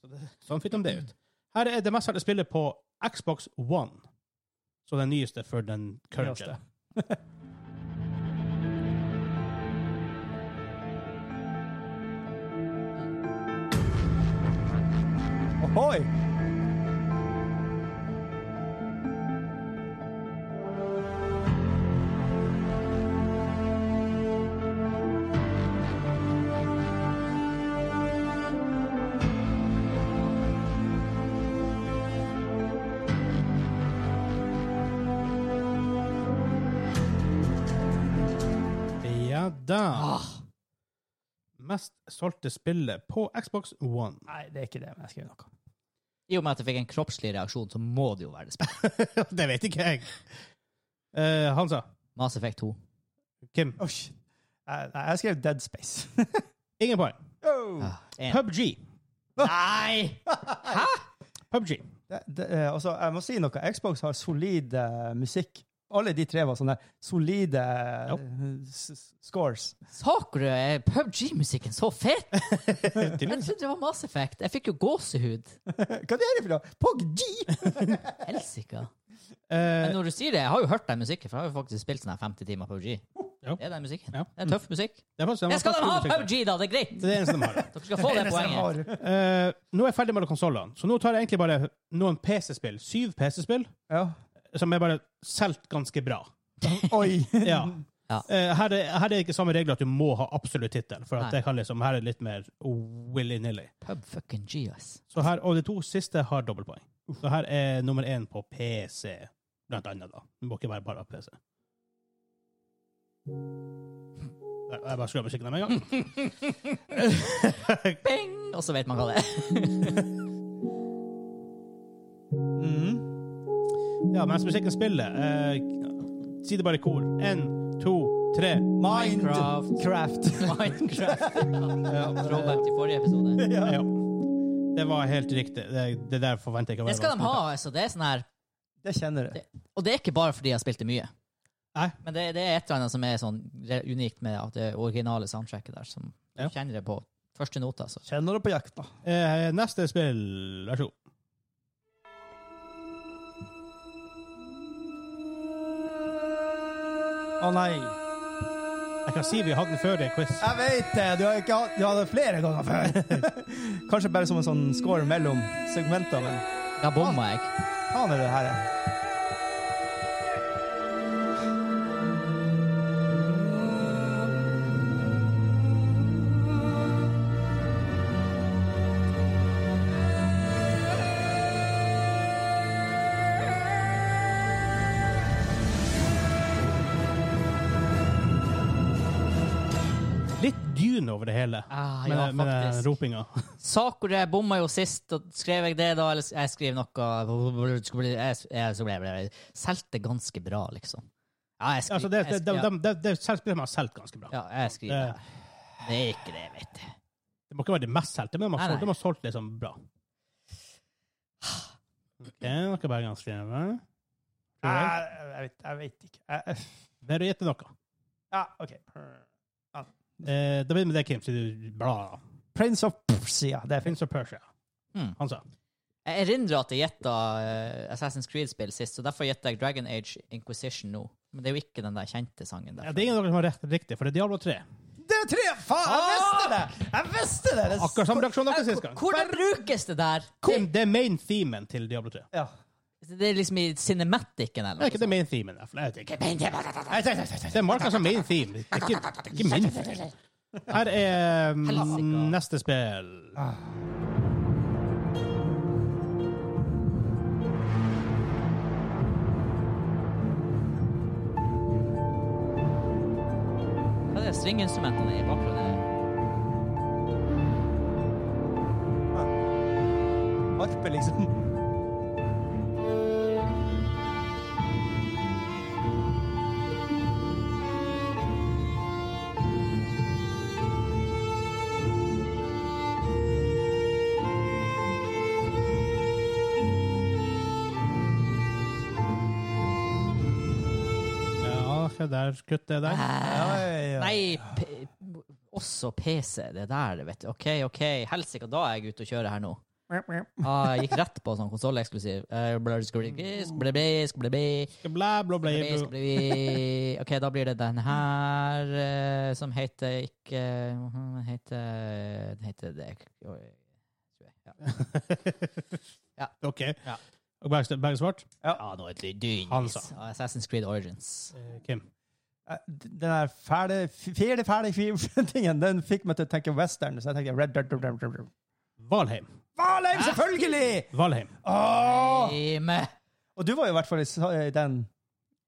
[SPEAKER 1] Så det. Sånn fikk de det ut. Her er det mest solgte spillet på Xbox One. Så den nyeste for den current gen.
[SPEAKER 3] Nyeste. Ohoi!
[SPEAKER 1] Ja da.
[SPEAKER 2] Ah.
[SPEAKER 1] Mest solgte spillet på Xbox One.
[SPEAKER 3] Nei, det er ikke det, men jeg skriver noe.
[SPEAKER 2] I og med at jeg fikk en kroppslig reaksjon, så må det jo være det spennende.
[SPEAKER 1] det vet ikke jeg. Eh, Hansa.
[SPEAKER 2] Mass Effect 2.
[SPEAKER 1] Kim.
[SPEAKER 3] Oh, shit. Eh, Nei, jeg skrev Dead Space.
[SPEAKER 1] Ingen poeng.
[SPEAKER 3] oh.
[SPEAKER 2] Ah, en.
[SPEAKER 1] PubG.
[SPEAKER 2] Nei!
[SPEAKER 1] PubG.
[SPEAKER 3] det, det, eh, altså, jeg må si noe. Xbox har solid eh, musikk. Alle de tre var sånne solide eh,
[SPEAKER 1] Ja.
[SPEAKER 3] s- s- scores.
[SPEAKER 2] Sakura er PubG-musikken så fet! Jeg
[SPEAKER 1] Tydeligvis.
[SPEAKER 2] trodde det var Mass Effect. Jeg fikk jo gåsehud.
[SPEAKER 3] Hva er det for noe? PogG!
[SPEAKER 2] Helsika. Men
[SPEAKER 1] Eh,
[SPEAKER 2] når du sier det, jeg har jo hørt den musikken, for jeg har jo faktisk spilt sånn her 50 timer PUBG.
[SPEAKER 1] Ja.
[SPEAKER 2] Det er den musikken.
[SPEAKER 1] Ja.
[SPEAKER 2] Det er tøff musikk.
[SPEAKER 1] det er faktisk-
[SPEAKER 2] Jeg skal de ha PUBG, da! Det er greit!
[SPEAKER 1] Det er det eneste de har.
[SPEAKER 2] Dere skal få det
[SPEAKER 3] Eneste jeg
[SPEAKER 2] poenget.
[SPEAKER 3] har.
[SPEAKER 1] Eh, nå er jeg ferdig med alle konsollene, så nå tar jeg egentlig bare noen PC-spill. Syv PC-spill
[SPEAKER 3] Ja.
[SPEAKER 1] som er bare solgt ganske bra.
[SPEAKER 3] Oi!
[SPEAKER 1] Ja.
[SPEAKER 2] Ja.
[SPEAKER 1] Eh, her, er, her er det ikke samme regler at du må ha absolutt tittel, for at
[SPEAKER 2] Nei.
[SPEAKER 1] det kan liksom, her er det litt mer willy-nilly.
[SPEAKER 2] Pub fucking G, ass.
[SPEAKER 1] Så her, Og de to siste har dobbeltpoeng. Så her er nummer én på PC, blant annet. da. Det må ikke være bare PC. Jeg jeg bare skrur av musikken der med en gang.
[SPEAKER 2] Bing! Og så vet man hva det er.
[SPEAKER 3] Mm.
[SPEAKER 1] Ja, mens musikken spiller, eh, si det bare i kor. Én, to, tre.
[SPEAKER 2] Minecraft.
[SPEAKER 3] Craft.
[SPEAKER 2] Minecraft.
[SPEAKER 1] Ja,
[SPEAKER 2] Throwback til forrige episode.
[SPEAKER 1] eh, ja. Det var helt riktig. Det, det der forventer jeg ikke å
[SPEAKER 2] Det
[SPEAKER 1] være
[SPEAKER 2] skal de ha,
[SPEAKER 1] vanskelig.
[SPEAKER 2] altså. Det er sånn her
[SPEAKER 3] Det kjenner jeg.
[SPEAKER 2] Og det er ikke bare fordi jeg spilte mye.
[SPEAKER 1] Nei.
[SPEAKER 2] Men det, det er et eller annet som er sånn re- unikt med at det originale soundtracket der, som
[SPEAKER 1] Ja.
[SPEAKER 2] du kjenner det på første nota. Så.
[SPEAKER 3] Kjenner det på jakta.
[SPEAKER 1] Eh, neste spill, vær så god.
[SPEAKER 3] Å nei.
[SPEAKER 1] Jeg kan si vi hadde den før i en quiz.
[SPEAKER 3] Jeg vet det! Du har, ikke, hatt- du har det flere ganger før. Kanskje bare som en sånn score mellom segmenter, men
[SPEAKER 2] Da bomma jeg.
[SPEAKER 3] faen er det her er.
[SPEAKER 1] Litt dyn over det hele.
[SPEAKER 2] Ah,
[SPEAKER 1] Med,
[SPEAKER 2] ja,
[SPEAKER 1] med den
[SPEAKER 2] faktisk.
[SPEAKER 1] ropinga.
[SPEAKER 2] Ah. Sakura bomma jo sist, og skrev jeg det da? Eller s- jeg skrev noe jeg, jeg, så ble jeg Solgte ganske bra, liksom. Ja, jeg
[SPEAKER 1] Altså, det,
[SPEAKER 2] skriver
[SPEAKER 1] det,
[SPEAKER 2] jeg,
[SPEAKER 1] det,
[SPEAKER 2] skri-
[SPEAKER 1] det, det, det spillet man har solgt ganske bra.
[SPEAKER 2] ja, jeg skriver
[SPEAKER 1] Det-
[SPEAKER 2] det. Det er ikke det, vet du.
[SPEAKER 1] Det må ikke være det mest solgte, men de har
[SPEAKER 2] Nei,
[SPEAKER 1] solgt-
[SPEAKER 2] nei.
[SPEAKER 1] de har solgt liksom bra. Ok, noe bare ganske skrevet. Mer
[SPEAKER 3] Jeg, jeg, vet, jeg vet ikke. Jeg, jeg,
[SPEAKER 1] å gjette noe.
[SPEAKER 3] ja, OK.
[SPEAKER 1] Eh, da begynner vi med det, Kim, siden du bla.
[SPEAKER 3] Prince of Persia. Det er fint.
[SPEAKER 1] Prince of Persia.
[SPEAKER 2] Mm.
[SPEAKER 1] Han sa.
[SPEAKER 2] Jeg erindrer at jeg gjetta eh, Assassin's Creed-spill sist, så derfor gjetter jeg Dragon Age Inquisition nå. Men det er jo ikke den der kjente sangen der.
[SPEAKER 1] Ja, det er ingen av dere som har rett riktig, for det er Diablo 3.
[SPEAKER 3] Det er tre! Faen, jeg visste det! Jeg visste det! det
[SPEAKER 1] Akkurat samme reaksjon dere sist gang.
[SPEAKER 2] Eh, Hvordan brukes det der?
[SPEAKER 1] Kim, det er main themen til Diablo 3.
[SPEAKER 3] ja.
[SPEAKER 2] Det, det er liksom i cinematicen
[SPEAKER 1] Det er
[SPEAKER 2] eller
[SPEAKER 1] ikke det main themen. i hvert fall. Jeg vet ikke. Det er marka som main theme. Det er ikke, det er ikke main theme. Her er mm,
[SPEAKER 2] Helsika.
[SPEAKER 1] neste spill.
[SPEAKER 2] Ah. Hva er det stringinstrumentene i bakgrunnen?
[SPEAKER 3] Harpe, liksom.
[SPEAKER 1] Ja, se der. Kutt det der.
[SPEAKER 3] Ja, ja, ja.
[SPEAKER 2] Ah. Nei, p også PC. Det der, det vet du. OK, OK. Helsike, da er jeg ute og kjører her nå. Ah, jeg gikk rett på sånn konsolleksklusiv. Eh, blur, skubli, skubli, skubli,
[SPEAKER 1] Bla, bla, bla.
[SPEAKER 2] skubli,
[SPEAKER 1] bla.
[SPEAKER 2] skubli. OK, da blir det den her eh, som heter ikke Den heter Den heter det Oi, tror jeg. Ja.
[SPEAKER 1] OK.
[SPEAKER 2] Ja.
[SPEAKER 1] Og Berg Berg svart?
[SPEAKER 2] Ja, nå er det dynis.
[SPEAKER 1] Han sa.
[SPEAKER 2] Ah, Assassin's Creed Origins.
[SPEAKER 1] Eh, Kim.
[SPEAKER 3] Eh, Den der fæle, fæle, fæle, fæle tingen, den fikk meg til å tenke western, så jeg tenkte Red Dirt Dirt Dirt Dirt.
[SPEAKER 1] Valheim.
[SPEAKER 3] Valheim, selvfølgelig!
[SPEAKER 1] Valheim.
[SPEAKER 3] Åh!
[SPEAKER 2] Time.
[SPEAKER 3] Og du var jo i hvert fall i sa- i den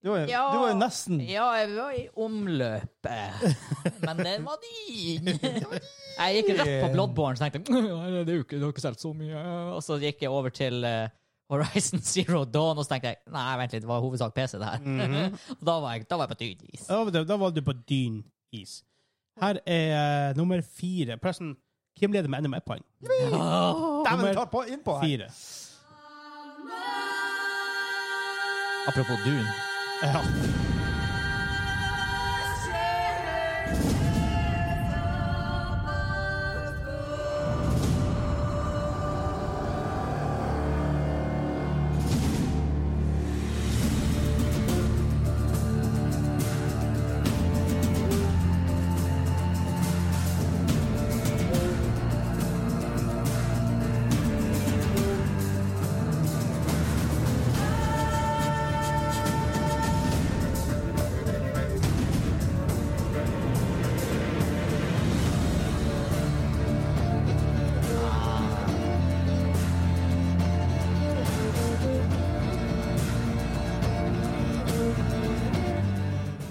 [SPEAKER 3] Du var jo,
[SPEAKER 2] Ja.
[SPEAKER 3] du var jo nesten
[SPEAKER 2] Ja, jeg var i omløpet, men den var din. Jeg gikk rett på Bloodborne så tenkte jeg, det er jo ikke, det har ikke solgt så mye. Og så gikk jeg over til eh, Horizon Zero Dawn, og så tenkte jeg nei, vent litt, det var hovedsak PC det her.
[SPEAKER 3] Mhm.
[SPEAKER 2] Og da var jeg, da var jeg på tynn is.
[SPEAKER 1] Da var du- Da var du på dyn is. Her er eh, nummer fire. Pressen, Kim leder med enda mer poeng.
[SPEAKER 3] Dæven,
[SPEAKER 1] Nummer
[SPEAKER 3] ta på, innpå her!
[SPEAKER 1] Fire.
[SPEAKER 2] Apropos Dune.
[SPEAKER 1] Ja.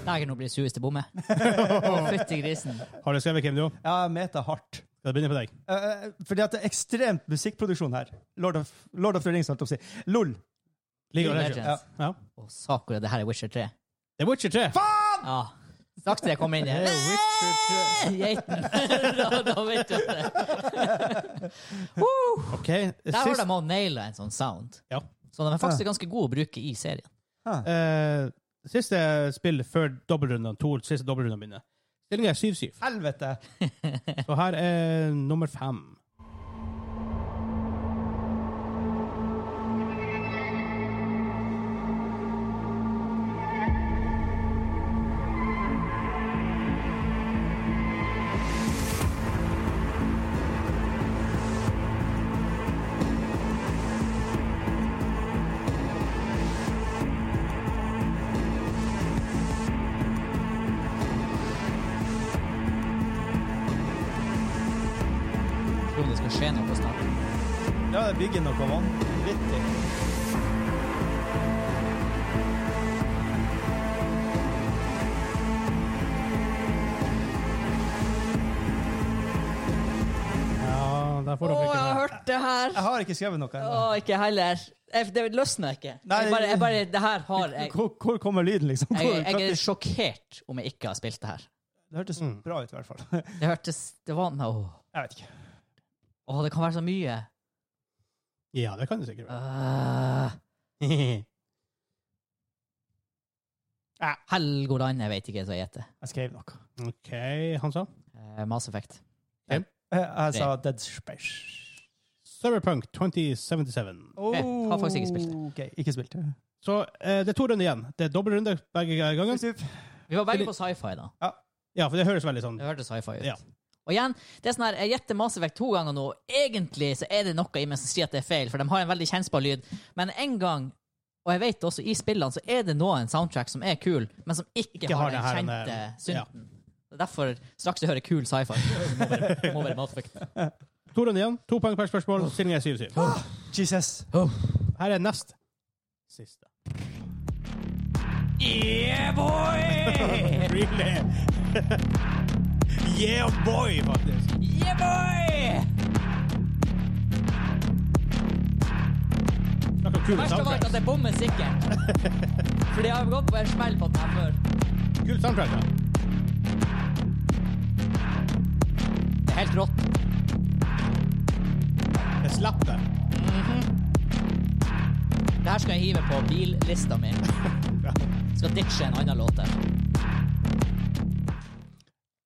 [SPEAKER 2] Nei, nå blir det sues til bomme. Å, fytti grisen.
[SPEAKER 1] Har du skrevet, Kim, du?
[SPEAKER 3] Ja, meta hardt.
[SPEAKER 1] Skal jeg begynne på deg?
[SPEAKER 3] Eh, fordi at det er ekstremt musikkproduksjon her. Lord of, Lord of the Rings, holdt jeg på å si. LOL.
[SPEAKER 1] League of
[SPEAKER 2] League
[SPEAKER 1] Legends.
[SPEAKER 2] Legends.
[SPEAKER 1] Ja.
[SPEAKER 2] Å, sakura, det her er Witcher 3.
[SPEAKER 1] Det er Witcher 3.
[SPEAKER 2] Ja. Straks det kommer inn i
[SPEAKER 3] Det er Witcher
[SPEAKER 2] Geiten. da, da vet du at det.
[SPEAKER 1] OK.
[SPEAKER 2] Der har
[SPEAKER 1] Sist
[SPEAKER 2] de òg naila en sånn sound.
[SPEAKER 1] Ja.
[SPEAKER 2] Så de er faktisk ganske gode å bruke i serien.
[SPEAKER 1] eh, Siste spill før dobbeltrundene, to siste dobbeltrundene mine. Stillingen er 7-7.
[SPEAKER 3] Helvete!
[SPEAKER 1] Så her er nummer fem.
[SPEAKER 2] Tror det skal skje noe snart.
[SPEAKER 3] Ja, det bygger noe vanvittig.
[SPEAKER 1] Ja, der får
[SPEAKER 2] Å,
[SPEAKER 1] dere
[SPEAKER 2] jeg har
[SPEAKER 1] ikke det.
[SPEAKER 2] hørt det her!
[SPEAKER 3] Jeg har ikke skrevet noe
[SPEAKER 2] Å,
[SPEAKER 3] ennå.
[SPEAKER 2] ikke heller. Jeg, det løsner ikke.
[SPEAKER 3] Nei,
[SPEAKER 2] jeg bare, jeg bare, det her har jeg
[SPEAKER 3] Hvor, hvor kommer lyden, liksom? Hvor,
[SPEAKER 2] jeg, jeg er
[SPEAKER 3] praktisk-
[SPEAKER 2] sjokkert om jeg ikke har spilt det her.
[SPEAKER 3] det hørtes
[SPEAKER 1] Mm.
[SPEAKER 3] bra ut, i hvert fall. Jeg
[SPEAKER 2] Det hørtes Det var Åh,
[SPEAKER 3] vet ikke.
[SPEAKER 2] Åh, det kan være så mye.
[SPEAKER 1] Ja, det kan det sikkert være.
[SPEAKER 2] Uh, Helgoland, jeg vet ikke hva jeg heter.
[SPEAKER 3] Jeg skrev noe.
[SPEAKER 1] OK, Hansa.
[SPEAKER 2] Uh, Mass Effect.
[SPEAKER 3] Jeg, jeg sa Dead Space.
[SPEAKER 1] Cyberpunk 2077.
[SPEAKER 2] Jeg har faktisk ikke spilt det.
[SPEAKER 3] Ok, ikke spilt det.
[SPEAKER 1] Så eh, det er to runder igjen. Det er dobbel runde begge ganger.
[SPEAKER 2] Vi var begge på sci-fi, da.
[SPEAKER 1] Ja, for det høres veldig sånn
[SPEAKER 2] Det hørtes sci-fi ut.
[SPEAKER 1] Ja.
[SPEAKER 2] Og igjen, det er sånn her, jeg gjetter Mass Effect to ganger nå. Egentlig så er det noe i meg som sier at det er feil, for de har en veldig kjennbar lyd. Men en gang, og jeg vet også i spillene, så er det noen soundtrack som er kul, men som ikke,
[SPEAKER 1] Ikke har
[SPEAKER 2] har
[SPEAKER 1] det her,
[SPEAKER 2] den kjente
[SPEAKER 1] den, ja.
[SPEAKER 2] synten. Det er Derfor, straks du hører kul sci-fi, må være- må være Mass Effect.
[SPEAKER 1] To runder igjen. To poeng per spørsmål. Stillingen er 7-7.
[SPEAKER 3] Jesus.
[SPEAKER 1] Her er nest siste.
[SPEAKER 2] Yeah, boy!
[SPEAKER 1] Really? yeah, boy, faktisk.
[SPEAKER 2] Yeah, boy!
[SPEAKER 1] Snakk om kul
[SPEAKER 2] Verst av alt altså. at
[SPEAKER 1] soundtrack.
[SPEAKER 2] jeg bommer sikkert. Fordi jeg har gått på en smell på den her før.
[SPEAKER 1] Kul soundtrack, ja.
[SPEAKER 2] Det er helt rått.
[SPEAKER 1] Det slapp der.
[SPEAKER 2] Det her skal jeg hive på billista mi. Skal ditche en annen låt der.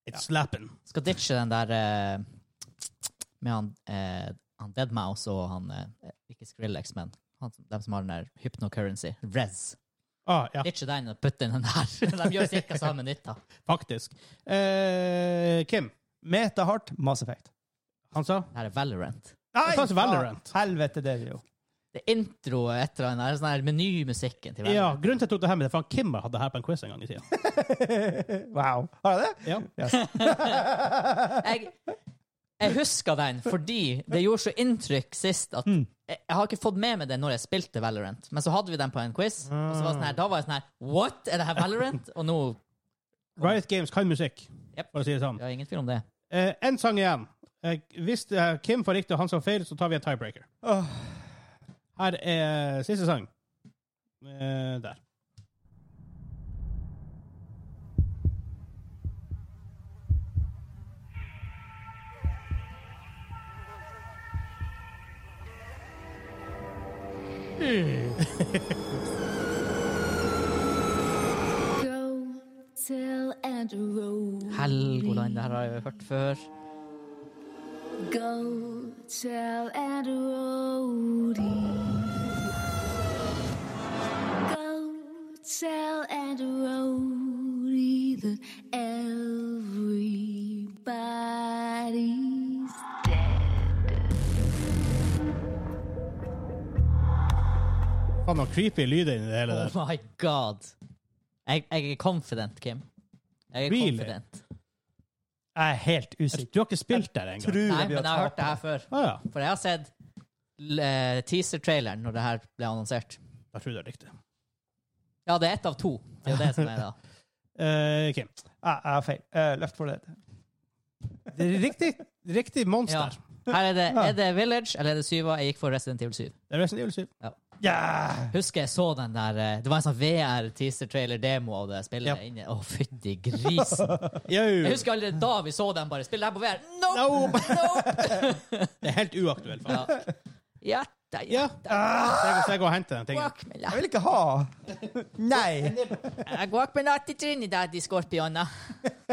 [SPEAKER 1] It's slapping.
[SPEAKER 2] Skal ditche den der eh, med han, eh, han Deadmouse og han eh, Ikke Skrillex, men han, som- dem som har den der hypnocurrency. Rez.
[SPEAKER 1] Ah, ja,
[SPEAKER 2] Ditche den og putte inn den der. De gjør cirka samme nytta.
[SPEAKER 1] faktisk. Eh, Kim,
[SPEAKER 3] Meta hardt, Mass Effect.
[SPEAKER 1] Hansa?
[SPEAKER 2] Det her er Valorant.
[SPEAKER 3] Nei!
[SPEAKER 1] Jeg tar Valorant.
[SPEAKER 3] Ja, helvete, det er det jo.
[SPEAKER 2] Det er intro og et eller annet. det er Sånn her menymusikken til
[SPEAKER 1] Ja,
[SPEAKER 2] Valorant.
[SPEAKER 1] grunnen til at jeg tok det her med det, for han Kim hadde det her på en quiz en gang i tiden.
[SPEAKER 3] Wow. Har jeg det?
[SPEAKER 1] Ja.
[SPEAKER 2] Jeg, jeg husker den fordi det gjorde så inntrykk sist at
[SPEAKER 3] Mm.
[SPEAKER 2] jeg, jeg har ikke fått med meg det når jeg spilte Valorant, men så hadde vi den på en quiz, og så var det sånn her, da var jeg sånn her What? Er det her Valorant? Og nå
[SPEAKER 1] Riot Games kan musikk,
[SPEAKER 2] Jep.
[SPEAKER 1] for å si det sånn.
[SPEAKER 2] Ja, ingen tvil om det.
[SPEAKER 1] Eh, en sang igjen. Eh, hvis eh, Kim får riktig og han som feil, så tar vi en tiebreaker.
[SPEAKER 3] Åh.
[SPEAKER 1] Her er siste sang. Eh, der.
[SPEAKER 4] Go, tell and roll.
[SPEAKER 2] Helgoland, det her har jeg jo hørt før.
[SPEAKER 4] Go, tell and roll. Go, tell and roll. That everybody's
[SPEAKER 1] Faen, noen creepy lyder inni det hele der.
[SPEAKER 2] Oh my god. Jeg, jeg er confident, Kim. Jeg er
[SPEAKER 1] Really?
[SPEAKER 2] confident.
[SPEAKER 3] Jeg er helt usikker.
[SPEAKER 1] Du har ikke spilt der engang?
[SPEAKER 3] Tror
[SPEAKER 2] Nei,
[SPEAKER 3] vi
[SPEAKER 2] men
[SPEAKER 3] har
[SPEAKER 2] jeg har hørt
[SPEAKER 3] tapt.
[SPEAKER 2] det her før.
[SPEAKER 1] Ah, ja.
[SPEAKER 2] For jeg har sett l- eh, teaser-traileren når det her ble annonsert.
[SPEAKER 1] Jeg tror det er riktig.
[SPEAKER 2] Ja, det er ett av to. Det er jo det som er da.
[SPEAKER 1] Eh, Kim.
[SPEAKER 3] Jeg jeg har feil. Eh, Left for Dead.
[SPEAKER 1] Det er riktig, riktig monster.
[SPEAKER 2] Her er det, er det Village eller er det Syva? Jeg gikk for Resident Evil 7.
[SPEAKER 1] Det er Resident Evil 7.
[SPEAKER 3] Yeah!
[SPEAKER 2] Husker jeg så den der eh, Det var en sånn VR-teaser-trailer-demo av det spillet.
[SPEAKER 1] Ja.
[SPEAKER 2] inne. Å, fytti grisen. Jeg
[SPEAKER 1] Yo.
[SPEAKER 2] husker allerede da vi så den bare. Spill den på VR. Nope!
[SPEAKER 1] No.
[SPEAKER 2] nope.
[SPEAKER 1] Det er helt uaktuelt. faktisk.
[SPEAKER 2] Ja. Hjerte,
[SPEAKER 1] Ja.
[SPEAKER 2] hjerte.
[SPEAKER 1] Så jeg, så jeg går og henter den tingen.
[SPEAKER 2] Guacamole.
[SPEAKER 3] Jeg vil ikke ha! Nei!
[SPEAKER 2] Eh, guacamole til Trinidad i Skorpiona.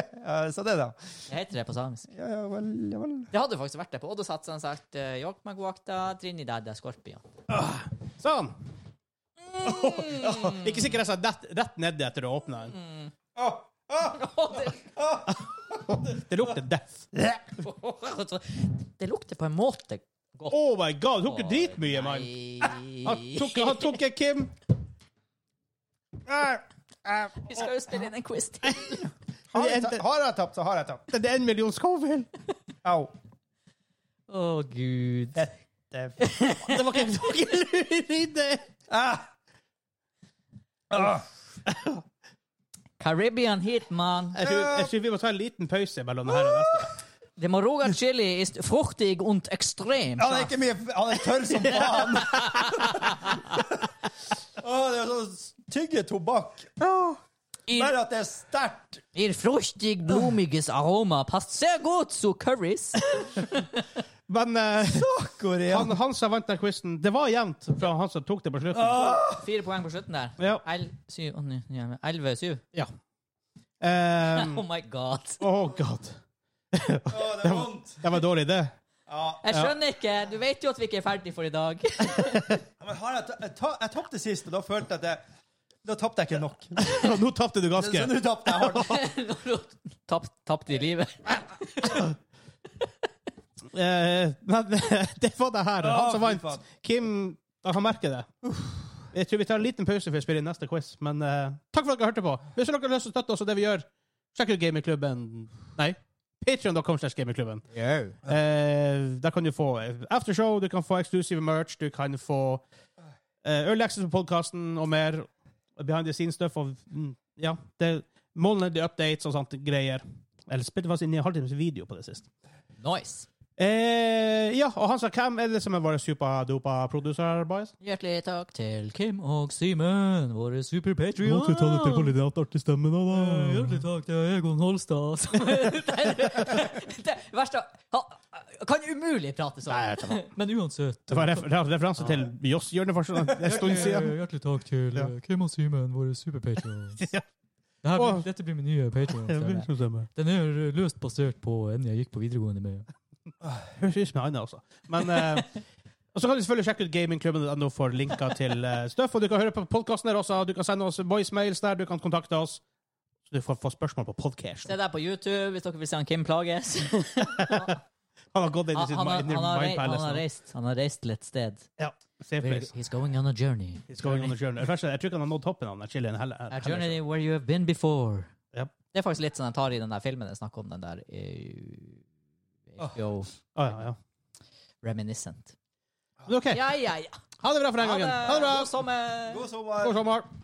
[SPEAKER 3] Eh, Så det, da.
[SPEAKER 2] Det heter det på samisk.
[SPEAKER 3] Ja, ja vel, ja vel.
[SPEAKER 2] Det hadde faktisk vært det på Oddosats. Han sagt eh, Jokmaguakta, Trinidad, er Skorpion.
[SPEAKER 1] Sånn. Ikke sikkert jeg sa rett, rett nedi etter å åpne den.
[SPEAKER 2] Å, det-
[SPEAKER 1] Det lukter death.
[SPEAKER 2] Det lukter på en måte godt.
[SPEAKER 1] Oh my god, tok du dritmye, mann? Han
[SPEAKER 2] Nei.
[SPEAKER 1] tok, han tok en Kim. Ah, ah.
[SPEAKER 2] Vi skal jo spille inn en quiz til.
[SPEAKER 3] Har jeg ta- har jeg tapt, så har jeg tapt.
[SPEAKER 1] Det er en million Scoville.
[SPEAKER 3] Au.
[SPEAKER 2] Å, gud.
[SPEAKER 3] Det er
[SPEAKER 1] Det var ikke noe luride.
[SPEAKER 3] ah. Ah.
[SPEAKER 2] Caribbean heat, man.
[SPEAKER 1] Jeg tror, jeg tror vi må ta en liten pause mellom det her og neste.
[SPEAKER 2] Det må roga chili ist fruchtig und extrem.
[SPEAKER 3] Han er ikke mye Han er tørr som faen! Åh, det er sånn tygge tobakk.
[SPEAKER 2] Ihr,
[SPEAKER 3] Bare at det er sterkt.
[SPEAKER 2] ihr fruchtig blumiges Aroma passt sehr gut zu Currys.
[SPEAKER 1] Men eh,
[SPEAKER 3] Korea.
[SPEAKER 1] han, han som vant den quizen, det var jevnt fra han som tok det på slutten.
[SPEAKER 2] Fire poeng på slutten der.
[SPEAKER 1] Ja.
[SPEAKER 2] El- syv- å, ny- ny- Elleve, syv.
[SPEAKER 1] Ja. Ehm,
[SPEAKER 2] Oh my god.
[SPEAKER 1] oh god.
[SPEAKER 3] Åh, det er vondt.
[SPEAKER 1] Det var en dårlig, det.
[SPEAKER 3] Ja.
[SPEAKER 2] Jeg skjønner ikke. Du vet jo at vi ikke er ferdig for i dag.
[SPEAKER 3] Men har jeg, ta- jeg, ta- jeg tapte sist, og da følte jeg at jeg Da tapte jeg ikke nok.
[SPEAKER 1] Nå tapte du
[SPEAKER 3] Så
[SPEAKER 1] ganske.
[SPEAKER 3] nå tapte jeg hardt.
[SPEAKER 2] Tapt tapt i livet.
[SPEAKER 1] Eh, men det var det her. Han som
[SPEAKER 3] Å, fy
[SPEAKER 1] vant.
[SPEAKER 3] faen.
[SPEAKER 1] Kim Han merker det. Jeg tror vi tar en liten pause for å spille inn neste quiz, men eh, takk for at dere hørte på. Hvis dere har lyst til å støtte oss og det vi gjør, sjekk ut Gamingklubben Nei, patreon.com slash gamingklubben. Eh, der kan du få aftershow, du kan få exclusive merch, du kan få eh, early access på podkasten og mer behind the scenes stuff og mm, ja, det månedlige updates og sånt greier. Eller spilte faktisk inn i en halvtimes video på det sist.
[SPEAKER 2] Nice.
[SPEAKER 1] Eh, ja, og han sa hvem er det som er vår superdupa-producer, boys?
[SPEAKER 2] Hjertelig takk til Kim og Simen, våre super Patreon.
[SPEAKER 1] litt artig stemme, da.
[SPEAKER 2] Hjertelig takk til Egon Holstad. som- det det verste Han kan umulig prate
[SPEAKER 1] Nei,
[SPEAKER 2] sånn.
[SPEAKER 1] jeg tar meg.
[SPEAKER 2] Men uansett.
[SPEAKER 1] Det var en refer- refer- referanse til Joss Hjørnefarsen en stund siden.
[SPEAKER 5] Hjertelig takk til eh, Kim og Simen, våre superpatrions.
[SPEAKER 1] Ja.
[SPEAKER 5] Det her blir,
[SPEAKER 1] Åh.
[SPEAKER 5] dette blir min nye patrion. Den er eh, løst basert på en jeg gikk på videregående med.
[SPEAKER 1] Høres ut som en annen, altså. Men eh, Og så kan du selvfølgelig sjekke ut gamingklubben.no for linker til eh, stuff. Og du kan høre på podkasten der også. Du kan sende oss voicemails der. Du kan kontakte oss. Så du får, får spørsmål på
[SPEAKER 2] Se
[SPEAKER 1] podcasten.
[SPEAKER 2] der på YouTube hvis dere vil se han Kim plages.
[SPEAKER 1] Han har gått inn i
[SPEAKER 2] Han,
[SPEAKER 1] sitt
[SPEAKER 2] han, har-
[SPEAKER 1] mind-
[SPEAKER 2] han, har, rei-
[SPEAKER 1] mind
[SPEAKER 2] han, har
[SPEAKER 1] palace nå.
[SPEAKER 2] reist, han har reist til et sted.
[SPEAKER 1] Ja, safe
[SPEAKER 2] Where-
[SPEAKER 1] place.
[SPEAKER 2] He's going on a journey.
[SPEAKER 1] It's going on a journey. Kanskje- Jeg tror ikke han har nådd toppen av den chilien heller.
[SPEAKER 2] A
[SPEAKER 1] heller.
[SPEAKER 2] journey where you have been before.
[SPEAKER 1] Yep.
[SPEAKER 2] Det er faktisk litt sånn jeg tar i den der filmen jeg snakker om, den der eh, HBO
[SPEAKER 1] Å, ja, ja.
[SPEAKER 2] Reminiscent.
[SPEAKER 1] Men OK.
[SPEAKER 2] Ja, ja, ja.
[SPEAKER 1] Ha det bra for den gangen. Ha det bra.
[SPEAKER 2] God sommer.
[SPEAKER 3] God sommer.
[SPEAKER 1] God sommer.